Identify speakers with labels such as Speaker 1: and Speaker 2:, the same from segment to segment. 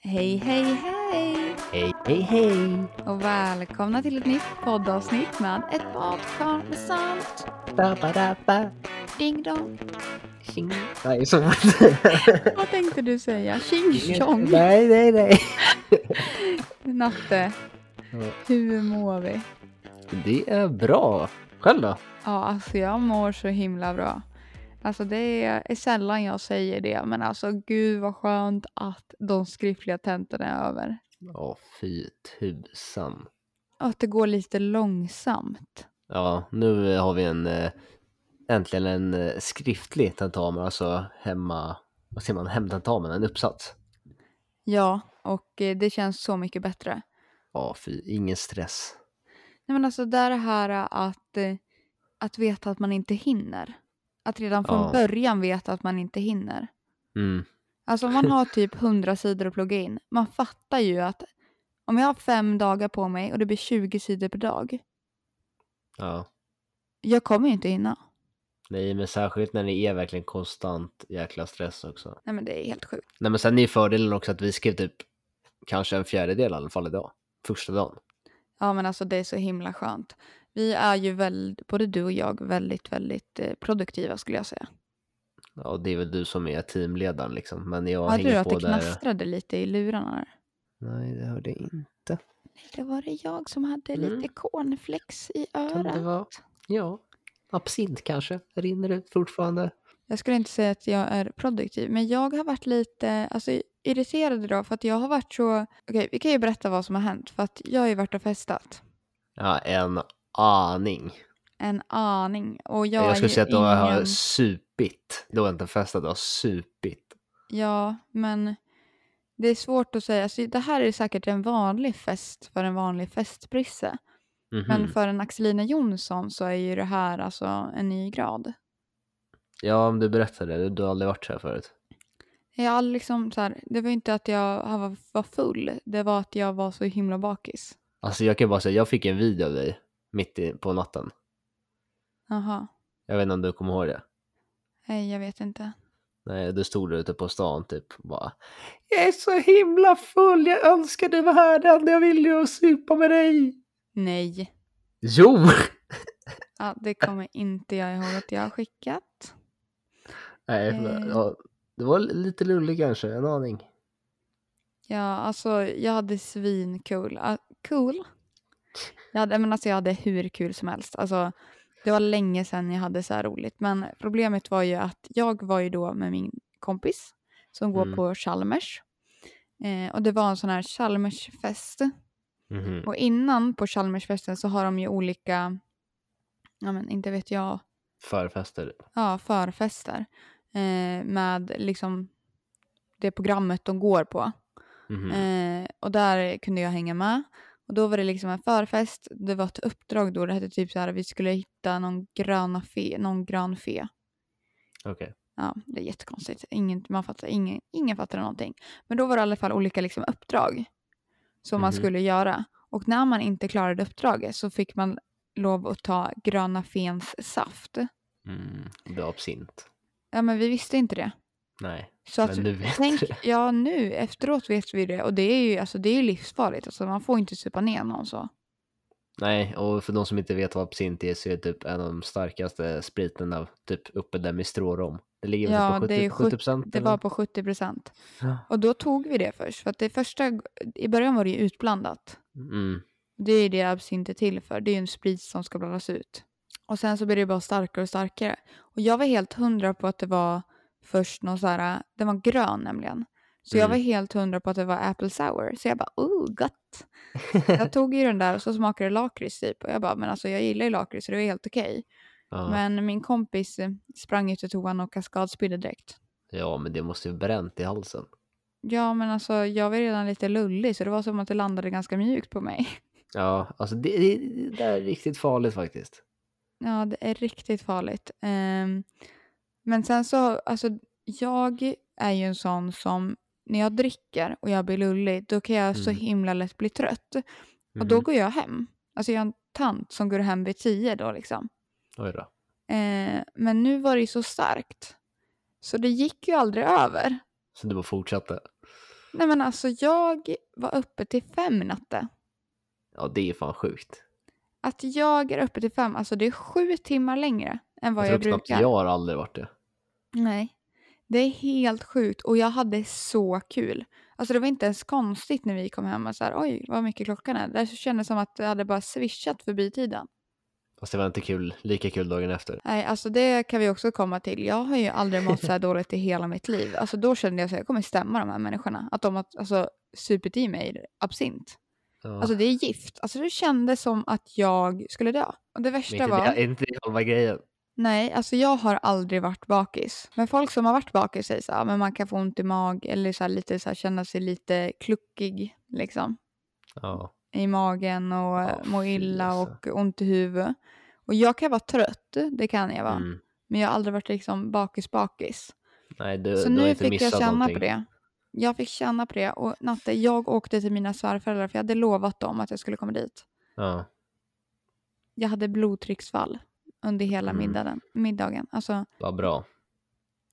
Speaker 1: Hej, hej, hej!
Speaker 2: Hej, hej, hej!
Speaker 1: Och välkomna till ett nytt poddavsnitt med ett badkar med salt.
Speaker 2: Ba, ba, da, ba.
Speaker 1: Ding dong.
Speaker 2: Tjing. Nej, så
Speaker 1: Vad tänkte du säga? Tjing tjong.
Speaker 2: Nej, nej, nej.
Speaker 1: Natte,
Speaker 2: Ja.
Speaker 1: hur mår vi?
Speaker 2: Det är bra. Själv då?
Speaker 1: Ja, alltså jag mår så himla bra. Alltså det är sällan jag säger det, men alltså gud vad skönt att de skriftliga tentorna är över.
Speaker 2: Ja, fy tusan.
Speaker 1: Och att det går lite långsamt.
Speaker 2: Ja, nu har vi en eh, äntligen en eh, skriftlig tentamen, alltså hemma, vad säger man, hemtentamen, en uppsats.
Speaker 1: Ja, och eh, det känns så mycket bättre.
Speaker 2: Ja, fy, ingen stress.
Speaker 1: Nej men alltså det är det här eh, att, eh, att veta att man inte hinner. Att redan från
Speaker 2: Ja.
Speaker 1: början veta att man inte hinner.
Speaker 2: Mm.
Speaker 1: Alltså om man har typ 100 sidor att plugga in. Man fattar ju att om jag har fem dagar på mig och det blir 20 sidor per dag.
Speaker 2: Ja.
Speaker 1: Jag kommer ju inte hinna.
Speaker 2: Nej, men särskilt när det är verkligen konstant jäkla stress också.
Speaker 1: Nej men det är helt sjukt.
Speaker 2: Nej, men sen är ju fördelen också att vi skrev typ kanske en fjärdedel i alla fall idag. Första dagen.
Speaker 1: Ja men alltså det är så himla skönt. Vi är ju väldigt, både du och jag, väldigt, väldigt eh, produktiva skulle jag säga.
Speaker 2: Ja, och det är väl du som är teamledaren liksom. Men jag
Speaker 1: Hörde du
Speaker 2: hänger
Speaker 1: att
Speaker 2: på
Speaker 1: det
Speaker 2: där.
Speaker 1: knastrade lite i lurarna där?
Speaker 2: Nej, det hörde jag inte.
Speaker 1: Det var det jag som hade
Speaker 2: Mm.
Speaker 1: lite cornflex i
Speaker 2: Kan det
Speaker 1: örat.
Speaker 2: vara? Ja. Absint kanske? Rinner ut fortfarande?
Speaker 1: Jag skulle inte säga att jag är produktiv, men jag har varit lite alltså, irriterad idag för att jag har varit så... Okej, vi kan ju berätta vad som har hänt för att jag har ju varit och festat.
Speaker 2: Ja, en aning.
Speaker 1: En aning. Och jag,
Speaker 2: Jag,
Speaker 1: är
Speaker 2: skulle
Speaker 1: ju
Speaker 2: säga att då har
Speaker 1: ingen-
Speaker 2: jag supit. Då har jag inte festat, då har jag supit.
Speaker 1: Ja, men det är svårt att säga. Alltså, det här är säkert en vanlig fest för en vanlig festbrisse.
Speaker 2: Mhm.
Speaker 1: Men för en Axelina Jonsson så är ju det här alltså en ny grad.
Speaker 2: Ja, om du berättar det. Du, du har aldrig varit så här förut.
Speaker 1: Jag har liksom så här, det var ju inte att jag var- var full, det var att jag var så himla bakis.
Speaker 2: Alltså jag kan bara säga, jag fick en video av dig mitt i, på natten.
Speaker 1: Jaha,
Speaker 2: Jag vet inte om du kommer ihåg det.
Speaker 1: nej jag vet inte.
Speaker 2: Nej, du stod där ute på stan typ och bara Jag är så himla full, jag önskar du var här, det enda jag ville var att supa med dig.
Speaker 1: Nej,
Speaker 2: Jo!
Speaker 1: ja, det kommer inte jag ihåg att jag har skickat.
Speaker 2: Nej,
Speaker 1: Eh.
Speaker 2: men, ja, det var lite lullig kanske, en aning.
Speaker 1: Ja, alltså jag hade svinkul. Ah, cool? Jag hade, men alltså, jag hade hur kul som helst. Alltså, det var länge sedan jag hade så här roligt. Men problemet var ju att jag var ju då med min kompis som går
Speaker 2: Mm.
Speaker 1: på Chalmers. Eh, och det var en sån här Chalmersfest. Och innan på Chalmersfesten så har de ju olika, ja men inte vet jag,
Speaker 2: Förfester. typ.
Speaker 1: ja, förfester. Eh, med liksom det programmet de går på.
Speaker 2: Mhm.
Speaker 1: Eh, och där kunde jag hänga med. Och då var det liksom en förfest, det var ett uppdrag då, det hette typ så här vi skulle hitta någon, gröna fe, någon grön fe.
Speaker 2: Okej.
Speaker 1: Ja, det är jättekonstigt. Ingen, man fattar, ingen, ingen fattar någonting. Men då var det i alla fall olika liksom, uppdrag som man
Speaker 2: Mhm.
Speaker 1: skulle göra. Och när man inte klarade uppdraget så fick man lov att ta gröna fens saft.
Speaker 2: Mm. Du har absint.
Speaker 1: Ja, men vi visste inte det.
Speaker 2: Nej,
Speaker 1: Så att,
Speaker 2: men nu vet
Speaker 1: tänk,
Speaker 2: du det.
Speaker 1: ja nu efteråt vet vi det och det är ju alltså, det är ju livsfarligt. Alltså, man får inte supa ner någon så.
Speaker 2: Nej, och för de som inte vet vad absint är så är det typ en av de starkaste spriterna typ uppe där med strårom. Det ligger väl
Speaker 1: Ja,
Speaker 2: typ på 70,
Speaker 1: det är
Speaker 2: 70 procent?
Speaker 1: Det var på 70 procent.
Speaker 2: Ja.
Speaker 1: Och då tog vi det först. För att det första, i början var det ju utblandat.
Speaker 2: Mm.
Speaker 1: Det är ju det absint är till för. Det är ju en sprit som ska blandas ut. Och sen så blir det bara starkare och starkare. Och jag var helt hundra på att det var först någon så här, den var grön nämligen. Så jag
Speaker 2: Mm.
Speaker 1: var helt hundra på att det var apple sour. Så jag bara, oh gott. Jag tog ju den där och så smakade det lakrits typ. Och jag bara, men alltså jag gillar ju lakrits så det var helt okej.
Speaker 2: Ja.
Speaker 1: Men min kompis eh, sprang ut ur toan och kaskadspydde direkt.
Speaker 2: ja, men det måste ju bränt i halsen.
Speaker 1: Ja men alltså jag var redan lite lullig så det var som att det landade ganska mjukt på mig.
Speaker 2: Ja, alltså det, det, det där är riktigt farligt faktiskt.
Speaker 1: Ja, det är riktigt farligt. Ehm, men sen så, alltså jag är ju en sån som när jag dricker och jag blir lullig, då kan jag så
Speaker 2: Mm.
Speaker 1: himla lätt bli trött. Och
Speaker 2: Mhm.
Speaker 1: då går jag hem. Alltså jag är en tant som går hem vid tio då liksom.
Speaker 2: Oj då.
Speaker 1: Ehm, men nu var det ju så starkt. Så det gick ju aldrig över.
Speaker 2: Så du bara fortsatte.
Speaker 1: Nej men alltså jag var uppe till fem i natte.
Speaker 2: Ja, det är fan sjukt.
Speaker 1: Att jag är uppe till fem, alltså det är sju timmar längre än vad jag,
Speaker 2: jag tror knappt
Speaker 1: brukar.
Speaker 2: jag har aldrig varit det.
Speaker 1: Nej. Det är helt sjukt och jag hade så kul. Alltså det var inte ens konstigt när vi kom hem och så här, oj vad mycket klockan är. Det kändes som att det hade bara swishat förbi tiden.
Speaker 2: Fast det var inte kul, lika kul dagen efter.
Speaker 1: Nej, alltså det kan vi också komma till. Jag har ju aldrig mått så här dåligt i hela mitt liv. Alltså då kände jag så här, jag kommer stämma de här människorna. Att de har alltså, supit i mig absint.
Speaker 2: Ja.
Speaker 1: Alltså det är gift. Alltså det kändes som att jag skulle dö. Och det
Speaker 2: Men
Speaker 1: värsta
Speaker 2: inte,
Speaker 1: var...
Speaker 2: det, inte det halva grejen.
Speaker 1: Nej, alltså jag har aldrig varit bakis. Men folk som har varit bakis säger så här, "Ja, men man kan få ont i mag eller så här, lite så här, känna sig lite kluckig liksom
Speaker 2: Ja.
Speaker 1: i magen och
Speaker 2: Ja,
Speaker 1: må
Speaker 2: fy
Speaker 1: illa
Speaker 2: alltså.
Speaker 1: och ont i huvudet. Och jag kan vara trött, det kan jag vara.
Speaker 2: Mm.
Speaker 1: Men jag har aldrig varit liksom bakis bakis.
Speaker 2: Nej, du,
Speaker 1: så
Speaker 2: du har
Speaker 1: nu
Speaker 2: inte
Speaker 1: fick jag
Speaker 2: missat
Speaker 1: känna
Speaker 2: någonting.
Speaker 1: på det. Jag fick känna på det och Natte, jag åkte till mina svärföräldrar för jag hade lovat dem att jag skulle komma dit.
Speaker 2: Ja.
Speaker 1: Jag hade blodtrycksfall under hela
Speaker 2: Mm.
Speaker 1: middagen. middagen. Alltså,
Speaker 2: Vad bra.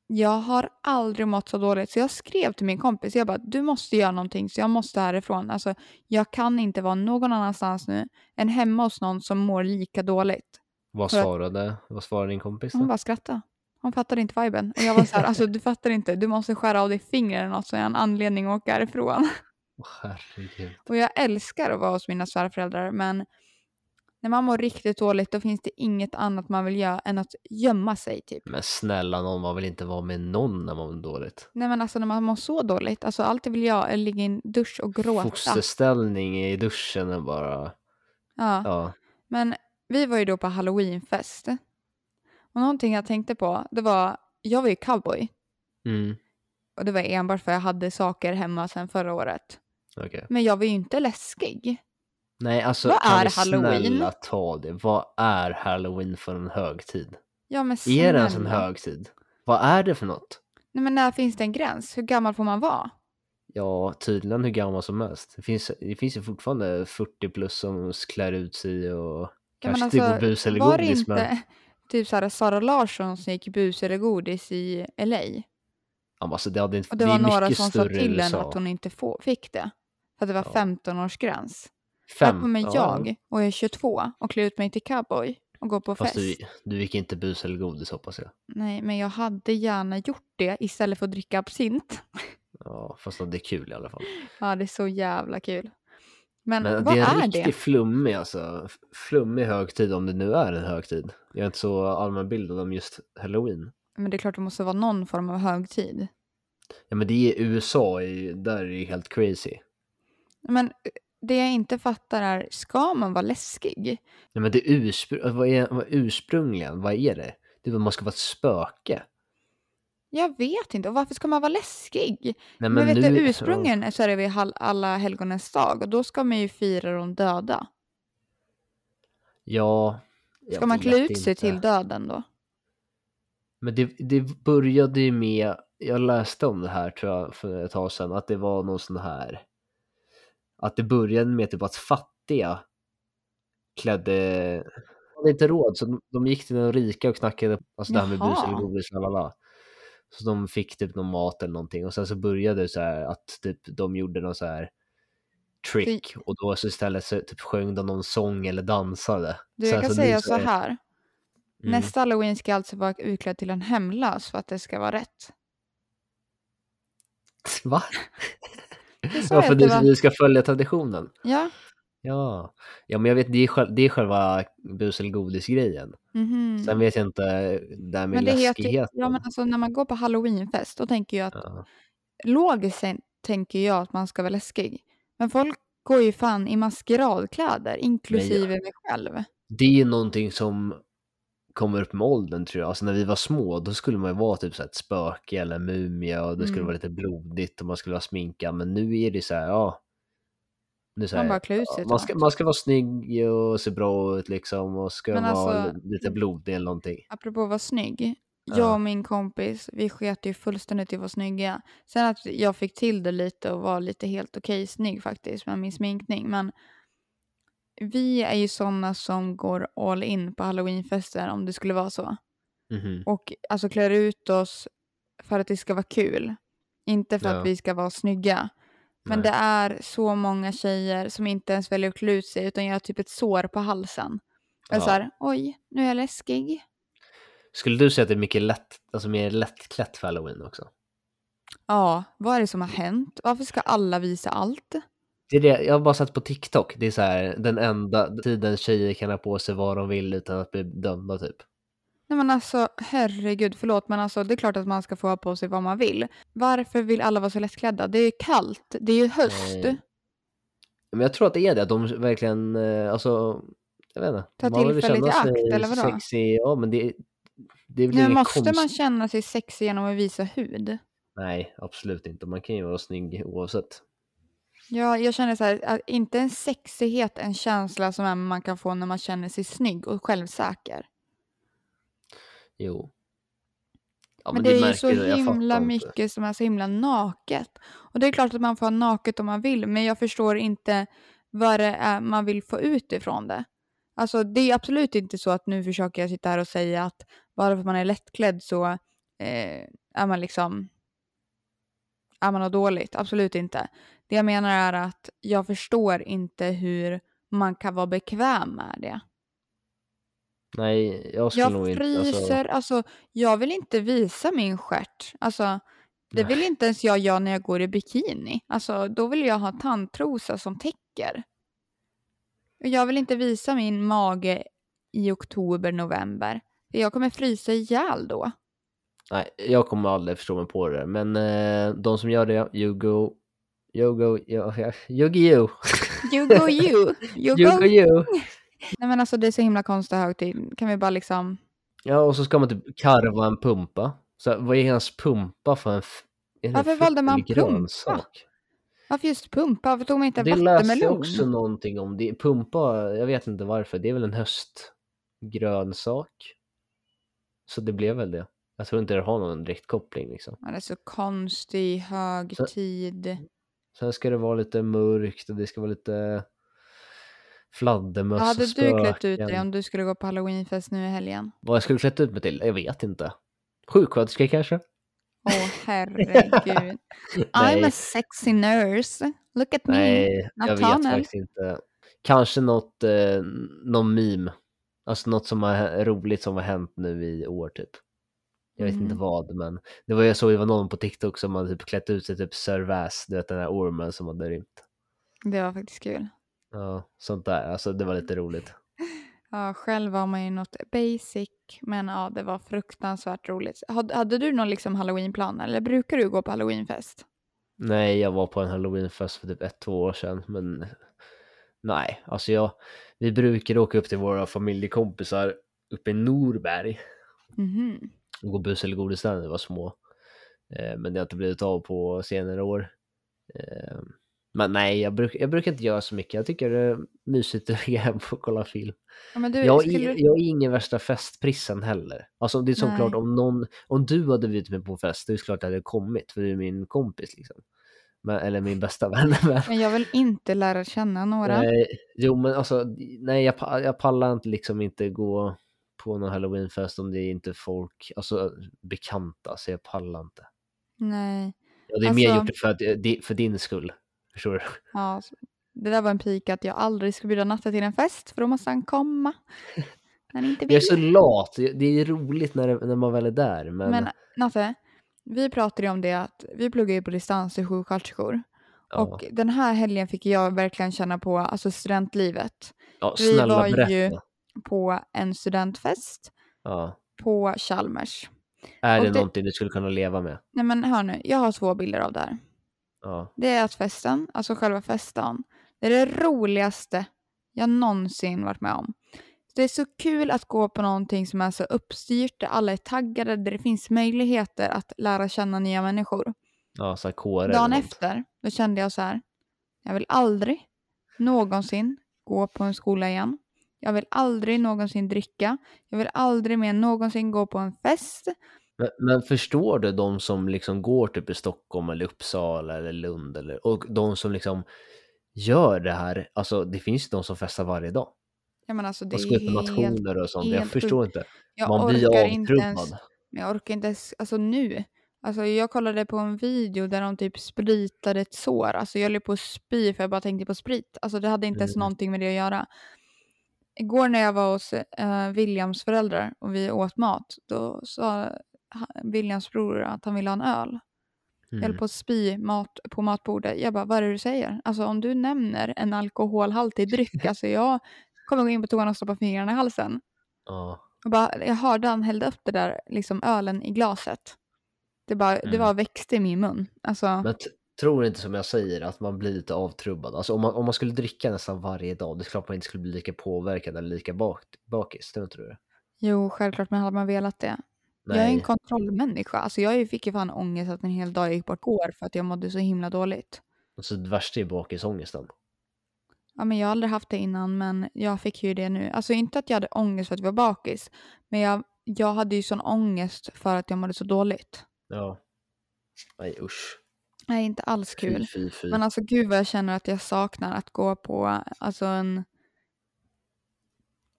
Speaker 1: jag har aldrig mått så dåligt. Så jag skrev till min kompis, jag bara, du måste göra någonting så jag måste härifrån. Alltså, jag kan inte vara någon annanstans nu än hemma hos någon som mår lika dåligt.
Speaker 2: Vad
Speaker 1: För att-
Speaker 2: svarade, vad svarade din kompis då?
Speaker 1: Hon bara skrattade. Hon fattade inte viben. Och jag var så här, alltså du fattar inte, du måste skära av dig fingrar eller något så jag har en anledning att åka härifrån.
Speaker 2: Åh, herregud.
Speaker 1: Och jag älskar att vara hos mina svärföräldrar men när man mår riktigt dåligt då finns det inget annat man vill göra än att gömma sig typ.
Speaker 2: Men snälla någon, man vill inte vara med någon när man mår dåligt.
Speaker 1: Nej men alltså när man mår så dåligt, alltså allt jag vill göra är ligga i en dusch och gråta.
Speaker 2: Fosterställning i duschen och bara,
Speaker 1: Ja.
Speaker 2: ja.
Speaker 1: Men vi var ju då på halloweenfest. Och någonting jag tänkte på, det var, jag var ju cowboy.
Speaker 2: Mm.
Speaker 1: Och det var enbart för jag hade saker hemma sedan förra året.
Speaker 2: Okej.
Speaker 1: Men jag var ju inte läskig.
Speaker 2: Nej, alltså
Speaker 1: Vad
Speaker 2: kan
Speaker 1: är
Speaker 2: vi
Speaker 1: halloween?
Speaker 2: snälla ta det? Vad är halloween för en högtid?
Speaker 1: Ja men
Speaker 2: Är det ens en
Speaker 1: snälla.
Speaker 2: högtid? Vad är det för något?
Speaker 1: Nej men när finns det en gräns? Hur gammal får man vara?
Speaker 2: Ja, tydligen hur gammal som helst. Det finns, det finns ju fortfarande 40 plus som klär ut sig och
Speaker 1: Ja, men
Speaker 2: kanske
Speaker 1: alltså,
Speaker 2: typ på bus eller
Speaker 1: var det
Speaker 2: godis. Men
Speaker 1: inte typ såhär Sara Larsson som gick bus eller godis i LA?
Speaker 2: ja, men alltså, det, hade inte,
Speaker 1: Och
Speaker 2: det
Speaker 1: det var
Speaker 2: är
Speaker 1: några
Speaker 2: mycket
Speaker 1: som sa
Speaker 2: större i
Speaker 1: till henne
Speaker 2: USA.
Speaker 1: att hon inte få, fick det. För att det var
Speaker 2: Ja.
Speaker 1: 15-årsgräns. Här
Speaker 2: Fem.
Speaker 1: kommer
Speaker 2: ja,
Speaker 1: jag och jag är 22 och klär ut mig till cowboy och går på
Speaker 2: Fast
Speaker 1: fest.
Speaker 2: du, du gick inte bus eller godis hoppas jag.
Speaker 1: Nej, men jag hade gärna gjort det istället för att dricka absint.
Speaker 2: Ja, fast det är kul i alla fall.
Speaker 1: Ja, det är så jävla kul. Men,
Speaker 2: Men
Speaker 1: vad
Speaker 2: det är en
Speaker 1: är
Speaker 2: riktigt
Speaker 1: det?
Speaker 2: flummig alltså. f- Flummig högtid om det nu är en högtid. Jag är inte så allmänbildad om just halloween.
Speaker 1: Men det är klart det måste vara någon form av högtid.
Speaker 2: Ja men det är USA, i- där är det ju helt crazy.
Speaker 1: Men eh, det jag inte fattar är, ska man vara läskig?
Speaker 2: Nej men det urspr- vad är, vad ursprungligen, vad är det? Det är väl man ska vara ett spöke.
Speaker 1: Jag vet inte. Och varför ska man vara läskig?
Speaker 2: Nej,
Speaker 1: Men, vet
Speaker 2: nu-
Speaker 1: du, ursprungen så är det vid hal- alla helgonens dag och då ska man ju fira de döda.
Speaker 2: Ja. jag
Speaker 1: Ska man
Speaker 2: vet
Speaker 1: klä ut sig
Speaker 2: inte.
Speaker 1: till döden då?
Speaker 2: Men det, det började ju med, jag läste om det här tror jag för ett tag sedan, att det var någon sån här, att det började med typ att fattiga klädde, de hade inte råd så de, de gick till de rika och knackade, alltså det här med bus
Speaker 1: Jaha.
Speaker 2: eller godis, lalala. Så de fick typ någon mat eller någonting och sen så började det så här att typ de gjorde någon så här trick och då så istället så typ sjöng de någon sång eller dansade.
Speaker 1: Du,
Speaker 2: Sen
Speaker 1: jag kan
Speaker 2: nu
Speaker 1: säga
Speaker 2: så
Speaker 1: så
Speaker 2: är-
Speaker 1: här.
Speaker 2: Mm.
Speaker 1: Nästa halloween ska alltså vara utklädd till en hemlös för att det ska vara rätt.
Speaker 2: Va?
Speaker 1: Det sa
Speaker 2: Ja,
Speaker 1: jag
Speaker 2: för
Speaker 1: att det
Speaker 2: du,
Speaker 1: var.
Speaker 2: du ska följa traditionen.
Speaker 1: Ja,
Speaker 2: Ja, ja men jag vet, det är, själ, det är själva bus eller godis-grejen.
Speaker 1: mhm.
Speaker 2: Sen vet jag inte det här med
Speaker 1: Men det heter ju,
Speaker 2: läskigheten.
Speaker 1: ja, men alltså, när man går på halloweenfest då tänker jag att
Speaker 2: Ja.
Speaker 1: logiskt sen- tänker jag att man ska vara läskig. Men folk går ju fan i maskeradkläder, inklusive mig själv.
Speaker 2: Det är ju någonting som kommer upp med åldern tror jag. Alltså när vi var små då skulle man ju vara typ så här ett spöke eller en mumie och det skulle
Speaker 1: Mm.
Speaker 2: vara lite blodigt och man skulle vara sminkad. Men nu är det så här, ja. Nu så
Speaker 1: Man
Speaker 2: här,
Speaker 1: bara klär ut sig
Speaker 2: ja,
Speaker 1: till
Speaker 2: man, ska,
Speaker 1: något.
Speaker 2: man ska vara snygg och se bra ut liksom och ska
Speaker 1: Men
Speaker 2: vara
Speaker 1: alltså-
Speaker 2: lite blodig eller någonting.
Speaker 1: Apropå att vara snygg.
Speaker 2: Ja.
Speaker 1: Jag och min kompis, vi sket ju fullständigt i att vara snygga. Sen att jag fick till det lite och var lite helt okej snygg faktiskt med min sminkning. Men vi är ju sådana som går all in på halloweenfester om det skulle vara så.
Speaker 2: Mhm.
Speaker 1: Och alltså klär ut oss för att det ska vara kul. Inte för
Speaker 2: Ja.
Speaker 1: att vi ska vara snygga. Men
Speaker 2: Nej.
Speaker 1: det är så många tjejer som inte ens väljer att klä ut sig utan gör typ ett sår på halsen. Eller
Speaker 2: Ja.
Speaker 1: så här, oj, nu är jag läskig.
Speaker 2: Skulle du säga att det är mycket lätt, alltså mer lättklätt för halloween också?
Speaker 1: Ja, vad är det som har hänt? Varför ska alla visa allt?
Speaker 2: Det är det, jag har bara sett på TikTok, det är så här den enda tiden tjejer kan ha på sig vad de vill utan att bli dömda typ.
Speaker 1: Nej men alltså herregud, förlåt men alltså det är klart att man ska få ha på sig vad man vill. Varför vill alla vara så lättklädda? Det är ju kallt, det är ju höst.
Speaker 2: Nej. Men jag tror att det är det, att de verkligen, eh, alltså, jag vet inte.
Speaker 1: Ta
Speaker 2: man vill
Speaker 1: tillfället
Speaker 2: känna
Speaker 1: i akt,
Speaker 2: sig
Speaker 1: eller vadå?
Speaker 2: Sexy, ja men det, det blir
Speaker 1: Nu
Speaker 2: inget
Speaker 1: måste
Speaker 2: konstigt.
Speaker 1: man känna sig sexig genom att visa hud.
Speaker 2: Nej, absolut inte. Man kan ju vara snygg oavsett.
Speaker 1: Ja, jag känner så här, att inte en sexighet, en känsla som är- man kan få när man känner sig snygg och självsäker.
Speaker 2: Jo. Ja,
Speaker 1: men,
Speaker 2: du
Speaker 1: det är ju
Speaker 2: märker
Speaker 1: så
Speaker 2: det, jag fattar
Speaker 1: himla
Speaker 2: inte.
Speaker 1: mycket som är så himla naket. Och det är klart att man får ha naket om man vill, men jag förstår inte vad det är man vill få ut ifrån det. Alltså det är absolut inte så att nu försöker jag sitta här och säga att bara för att man är lättklädd så eh, är man liksom är man något dåligt. Absolut inte. Det jag menar är att jag förstår inte hur man kan vara bekväm med det.
Speaker 2: Nej, jag skulle
Speaker 1: Jag
Speaker 2: nog inte.
Speaker 1: fryser, alltså, jag vill inte visa min stjärt. Alltså, det
Speaker 2: Nej.
Speaker 1: vill inte ens jag göra när jag går i bikini. Alltså, då vill jag ha tandtrosa som täcker. Och Jag vill inte visa min mage i oktober, november. För Jag kommer frysa ihjäl då.
Speaker 2: Nej, jag kommer aldrig förstå mig på det där. Men eh, de som gör det, you go, you go, you, you go you.
Speaker 1: You go you. You
Speaker 2: You go
Speaker 1: go.
Speaker 2: you.
Speaker 1: Nej men alltså det är så himla konstiga högtid. Kan vi bara liksom.
Speaker 2: Ja, och så ska man typ karva en pumpa. Så vad är ens pumpa för en... f- är det en
Speaker 1: Varför
Speaker 2: frukt
Speaker 1: valde man
Speaker 2: eller grön
Speaker 1: pumpa?
Speaker 2: sak?
Speaker 1: Varför just pumpa? Varför tog man inte
Speaker 2: Det läste jag
Speaker 1: vattenmelon?
Speaker 2: också någonting om. Det, pumpa, jag vet inte varför, det är väl en höstgrön sak. Så det blev väl det. Jag tror inte det har någon direkt koppling liksom.
Speaker 1: Ja, Det är så konstig högtid.
Speaker 2: Sen ska det vara lite mörkt och det ska vara lite
Speaker 1: Vad
Speaker 2: fladdermöss och
Speaker 1: hade du klätt ut dig
Speaker 2: spöken.
Speaker 1: om du skulle gå på halloweenfest nu i helgen?
Speaker 2: Vad jag skulle klätt ut mig till? Jag vet inte. Sjuksköterska kanske?
Speaker 1: Åh herregud. I'm a
Speaker 2: Nej.
Speaker 1: sexy nurse. Look at me.
Speaker 2: Nej, jag vet
Speaker 1: Nathaniel.
Speaker 2: faktiskt inte. Kanske något, eh, någon meme. Alltså något som är roligt som har hänt nu i år typ. Jag vet inte
Speaker 1: Mm.
Speaker 2: vad, men det var jag såg det var någon på TikTok som hade typ klätt ut sig typ Sir Vass, du vet den där ormen som hade rymt.
Speaker 1: Det var faktiskt kul.
Speaker 2: Ja, sånt där. Alltså det var lite roligt.
Speaker 1: Ja, själv var man ju något basic. Men ja, det var fruktansvärt roligt. Hade, hade du någon liksom halloweenplan eller brukar du gå på halloweenfest?
Speaker 2: Nej, jag var på en halloweenfest för typ ett, två år sedan, men nej, alltså jag, vi brukar åka upp till våra familjekompisar uppe i Norberg
Speaker 1: Mhm.
Speaker 2: och gå bus eller godis där när vi var små. Eh, men det har inte blivit av på senare år. Eh, men nej, jag, bruk, jag brukar inte göra så mycket. Jag tycker det är mysigt att ligga hemma och kolla film.
Speaker 1: Ja, men du,
Speaker 2: Jag
Speaker 1: skulle
Speaker 2: är,
Speaker 1: du-
Speaker 2: jag är ingen värsta festprissen heller. Alltså det är
Speaker 1: Nej.
Speaker 2: såklart om någon, om du hade bjudit mig på en fest, det är klart att jag hade kommit för du är min kompis liksom. Men, eller min bästa vän. Men,
Speaker 1: Men jag vill inte lära känna några.
Speaker 2: nej, jo men alltså, nej jag, pa- jag pallar inte liksom inte gå på någon halloweenfest om det är inte folk, alltså bekanta, så jag pallar inte.
Speaker 1: Nej.
Speaker 2: Ja, det är mer
Speaker 1: Alltså-
Speaker 2: gjort för, att, det- för din skull. Förstår du?
Speaker 1: Ja, så- det där var en pik att jag aldrig ska bjuda Natte till en fest för då måste han komma. När han inte
Speaker 2: Jag är
Speaker 1: vill.
Speaker 2: så lat. Det är roligt när, det, när man väl är där, men,
Speaker 1: Men Natte, vi pratade ju om det att vi pluggar ju på distans i sjuksköterskor.
Speaker 2: ja,
Speaker 1: Och den här helgen fick jag verkligen känna på alltså studentlivet.
Speaker 2: ja,
Speaker 1: vi
Speaker 2: snälla
Speaker 1: var ju-
Speaker 2: berätta.
Speaker 1: På en studentfest
Speaker 2: Ja.
Speaker 1: på Chalmers.
Speaker 2: Är
Speaker 1: och
Speaker 2: det,
Speaker 1: det-
Speaker 2: någonting du skulle kunna leva med?
Speaker 1: Nej men hör nu, jag har två bilder av det här.
Speaker 2: Ja.
Speaker 1: Det är att festen, alltså själva festen, det är det roligaste jag någonsin varit med om. Det är så kul att gå på någonting som är så uppstyrt, där alla är taggade, där det finns möjligheter att lära känna nya människor.
Speaker 2: Ja, så här kårer eller
Speaker 1: Dagen
Speaker 2: något.
Speaker 1: efter, då kände jag så här. Jag vill aldrig någonsin gå på en skola igen. Jag vill aldrig någonsin dricka. Jag vill aldrig mer någonsin gå på en fest.
Speaker 2: Men, men förstår du de som liksom går typ i Stockholm eller Uppsala eller Lund eller, och de som liksom gör det här, alltså det finns ju de som festar varje dag.
Speaker 1: Jag menar alltså det
Speaker 2: Och
Speaker 1: är
Speaker 2: skjuter
Speaker 1: helt...
Speaker 2: nationer och sånt. Jag
Speaker 1: helt
Speaker 2: förstår inte.
Speaker 1: Jag
Speaker 2: Man blir
Speaker 1: orkar inte
Speaker 2: avtrubbad.
Speaker 1: ens... Men jag orkar inte ens... Alltså nu. Alltså jag kollade på en video där de typ spritade ett sår. Alltså jag höll ju på att spy för jag bara tänkte på sprit. Alltså det hade inte ens
Speaker 2: Mm.
Speaker 1: någonting med det att göra. Igår när jag var hos eh, Williams föräldrar och vi åt mat, då sa han- Williams bror att han ville ha en öl. Jag höll
Speaker 2: Mm.
Speaker 1: på att spy mat, på matbordet. Jag bara, vad är det du säger? Alltså om du nämner en alkoholhaltig dryck, alltså jag kommer gå in på toan och stoppa fingrarna i halsen.
Speaker 2: Ja.
Speaker 1: Och bara, jag hörde han hällde upp det där liksom ölen i glaset. Det, bara, det
Speaker 2: Mm.
Speaker 1: var växte i min mun. Alltså,
Speaker 2: Men t- tror inte som jag säger att man blir lite avtrubbad. Alltså om man, om man skulle dricka nästan varje dag, det är klart man inte skulle bli lika påverkad eller lika bak, bakis. Tror inte du det?
Speaker 1: jo, självklart, men hade man velat det. Jag är en kontrollmänniska. Alltså, jag fick ju fan ångest att en hel dag gick bort går för att jag mådde så himla dåligt.
Speaker 2: Alltså, det värsta är bakisångesten.
Speaker 1: Ja, men jag har aldrig haft det innan, men jag fick ju det nu. Alltså inte att jag hade ångest för att jag var bakis, men jag, jag hade ju sån ångest för att jag mådde så dåligt.
Speaker 2: Ja. Nej usch.
Speaker 1: Nej, inte alls kul.
Speaker 2: Fy, fy, fy.
Speaker 1: Men alltså gud vad jag känner att jag saknar att gå på alltså en,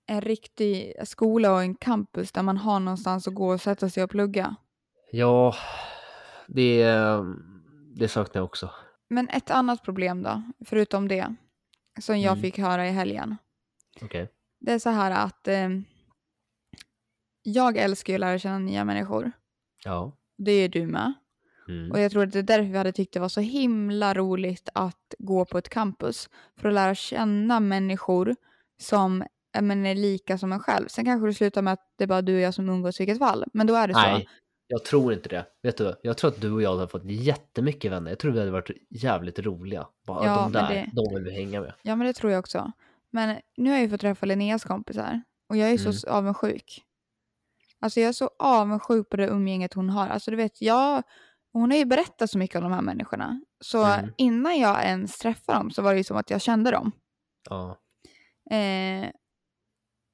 Speaker 1: en riktig skola och en campus där man har någonstans att gå och sätta sig och plugga.
Speaker 2: Ja, det, det saknar jag också.
Speaker 1: Men ett annat problem då, förutom det, som jag
Speaker 2: Mm.
Speaker 1: fick höra i helgen.
Speaker 2: Okej.
Speaker 1: Det är så här att eh, jag älskar ju att lära känna nya människor.
Speaker 2: Ja.
Speaker 1: Det är ju du med.
Speaker 2: Mm.
Speaker 1: Och jag tror att det är därför vi hade tyckt det var så himla roligt att gå på ett campus. För att lära känna människor som ja, men, är lika som en själv. Sen kanske det slutar med att det är bara du och jag som umgås i vilket fall. Men då är det så.
Speaker 2: Nej, jag tror inte det. Vet du, jag tror att du och jag hade fått jättemycket vänner. Jag tror vi hade varit jävligt roliga. Bara,
Speaker 1: Ja,
Speaker 2: de
Speaker 1: men
Speaker 2: där,
Speaker 1: det-
Speaker 2: de vill vi hänga med.
Speaker 1: Ja men det tror jag också. Men nu har jag ju fått träffa Linneas kompisar. Och jag är så
Speaker 2: Mm.
Speaker 1: avundsjuk. Alltså jag är så avundsjuk på det umgänget hon har. Alltså du vet, jag... Hon har ju berättat så mycket om de här människorna. Så
Speaker 2: Mm.
Speaker 1: innan jag ens träffade dem så var det ju som att jag kände dem.
Speaker 2: Ja.
Speaker 1: Eh,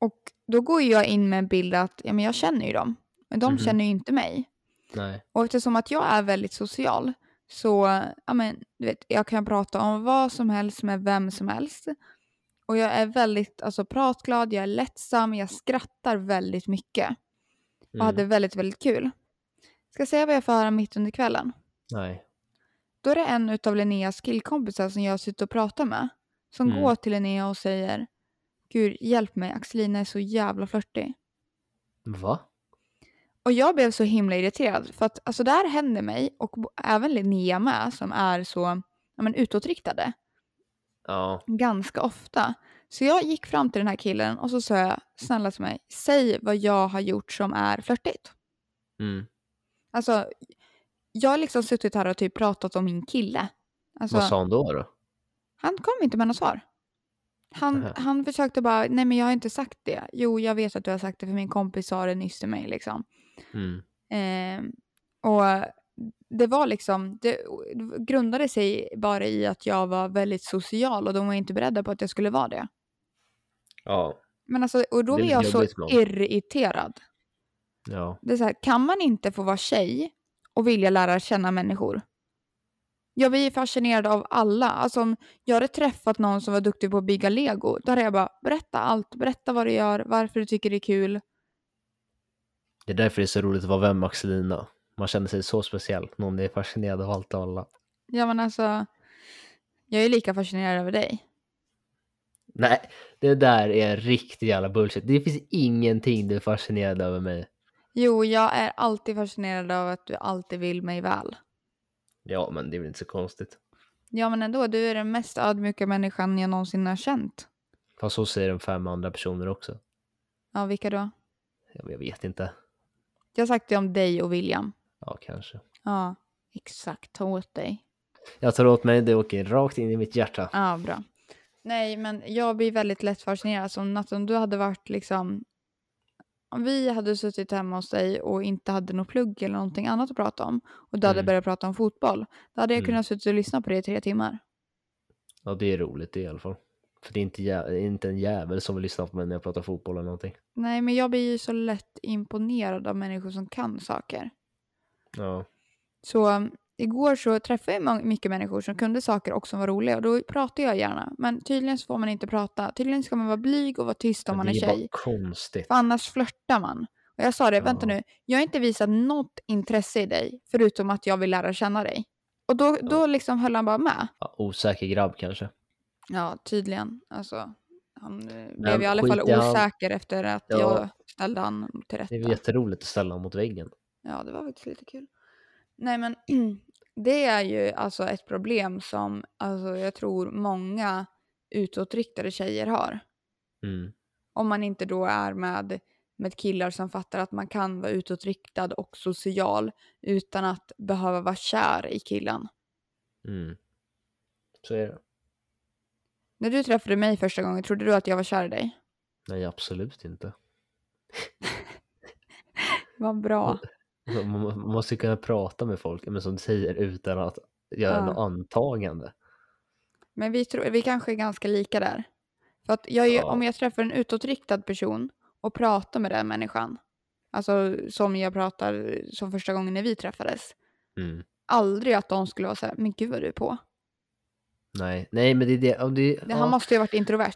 Speaker 1: och då går ju jag in med en bild att ja, men jag känner ju dem. Men de
Speaker 2: Mhm.
Speaker 1: känner ju inte mig.
Speaker 2: Nej.
Speaker 1: Och eftersom att jag är väldigt social så ja, men, du vet, jag kan prata om vad som helst med vem som helst. Och jag är väldigt alltså, pratglad, jag är lättsam, jag skrattar väldigt mycket. Och
Speaker 2: Mm.
Speaker 1: hade väldigt, väldigt kul. Ska jag säga vad jag får höra mitt under kvällen?
Speaker 2: Nej.
Speaker 1: Då är det en av Linneas killkompisar som jag sitter och pratar med. Som
Speaker 2: Mm.
Speaker 1: går till Linnea och säger Gud hjälp mig, Axelina är så jävla flörtig.
Speaker 2: Va?
Speaker 1: Och jag blev så himla irriterad för att alltså det här hände mig och bo- även Linnea med som är så ja, men, utåtriktade
Speaker 2: Ja.
Speaker 1: ganska ofta. Så jag gick fram till den här killen och så sa jag snälla till mig, säg vad jag har gjort som är flörtigt.
Speaker 2: Mm.
Speaker 1: Alltså jag har liksom suttit här och typ pratat om min kille. Alltså,
Speaker 2: Vad sa han då då?
Speaker 1: Han kom inte med något svar. Han,
Speaker 2: Nähä.
Speaker 1: han försökte bara, nej men jag har inte sagt det. Jo, jag vet att du har sagt det för min kompis sa det nyss till mig liksom.
Speaker 2: Mm.
Speaker 1: Eh, och det var liksom, det grundade sig bara i att jag var väldigt social och de var inte beredda på att jag skulle vara det.
Speaker 2: Ja.
Speaker 1: Men alltså, och då
Speaker 2: Det är
Speaker 1: blir jag
Speaker 2: lite
Speaker 1: så
Speaker 2: jobbigt ibland.
Speaker 1: irriterad.
Speaker 2: Ja.
Speaker 1: Det är så här, kan man inte få vara tjej och vilja lära känna människor? Jag blir fascinerad av alla. Alltså om jag hade träffat någon som var duktig på att bygga lego, då hade jag bara berätta allt, berätta vad du gör, varför du tycker det är kul.
Speaker 2: Det är därför det är så roligt att vara vän med Axelina. Man känner sig så speciell. Någon är fascinerad av allt och alla.
Speaker 1: Ja men alltså, jag är lika fascinerad över dig.
Speaker 2: Nej, det där är riktigt jävla bullshit. Det finns ingenting du är fascinerad över mig.
Speaker 1: Jo, jag är alltid fascinerad av att du alltid vill mig väl.
Speaker 2: Ja, men det är väl inte så konstigt.
Speaker 1: Ja men ändå, du är den mest ödmjuka människan jag någonsin har känt.
Speaker 2: Fast så säger de fem andra personer också.
Speaker 1: Ja, vilka då?
Speaker 2: Ja, men Jag vet inte.
Speaker 1: Jag har sagt det om dig och William.
Speaker 2: Ja, kanske.
Speaker 1: Ja, exakt. Ta åt dig.
Speaker 2: Jag tar åt mig, det åker rakt in i mitt hjärta.
Speaker 1: Ja, bra. Nej, men jag blir väldigt lätt fascinerad. Som Natt, om du hade varit liksom... Om vi hade suttit hemma hos dig och inte hade något plugg eller någonting annat att prata om och du hade
Speaker 2: Mm.
Speaker 1: börjat prata om fotboll, då hade jag
Speaker 2: Mm.
Speaker 1: kunnat sitta och lyssna på det i tre timmar.
Speaker 2: Ja, det är roligt det i alla fall. För det är inte, jä- det är inte en jävel som vill lyssna på mig när jag pratar fotboll eller någonting.
Speaker 1: Nej, men jag blir ju så lätt imponerad av människor som kan saker.
Speaker 2: Ja.
Speaker 1: Så um, igår så träffade jag mång- mycket människor som kunde saker och som var roliga och då pratade jag gärna. Men tydligen så får man inte prata. Tydligen ska man vara blyg och vara tyst om
Speaker 2: Men
Speaker 1: man
Speaker 2: det
Speaker 1: är
Speaker 2: är bara
Speaker 1: tjej.
Speaker 2: konstigt.
Speaker 1: För annars flörtar man. Och Och jag sa det,
Speaker 2: Ja.
Speaker 1: vänta nu, jag har inte visat något intresse i dig förutom att jag vill lära känna dig. Och då, då liksom höll han bara med.
Speaker 2: Ja, osäker grabb kanske.
Speaker 1: Ja, tydligen. Alltså, han eh,
Speaker 2: Men
Speaker 1: blev i alla fall
Speaker 2: skit i han.
Speaker 1: osäker efter att
Speaker 2: Ja.
Speaker 1: jag ställde han till
Speaker 2: Det
Speaker 1: rätta.
Speaker 2: är jätteroligt att ställa honom mot väggen.
Speaker 1: Ja, det var faktiskt lite kul. Nej, men det är ju alltså ett problem som alltså, jag tror många utåtriktade tjejer har.
Speaker 2: Mm.
Speaker 1: Om man inte då är med, med killar som fattar att man kan vara utåtriktad och social utan att behöva vara kär i killen.
Speaker 2: Mm. Så är det.
Speaker 1: När du träffade mig första gången, trodde du att jag var kär i dig?
Speaker 2: Nej, absolut inte.
Speaker 1: Vad bra.
Speaker 2: Alltså, Man man måste kunna prata med folk, men som du säger, utan att göra
Speaker 1: Ja.
Speaker 2: något antagande.
Speaker 1: Men vi, tror, vi kanske är ganska lika där. För att jag är,
Speaker 2: Ja.
Speaker 1: om jag träffar en utåtriktad person och pratar med den människan, alltså som jag pratar som första gången när vi träffades,
Speaker 2: Mm.
Speaker 1: aldrig att de skulle vara så här, men gud vad du är på.
Speaker 2: Nej, nej, men det är det. Om det,
Speaker 1: Det, Han
Speaker 2: ja.
Speaker 1: måste ju ha varit introvert.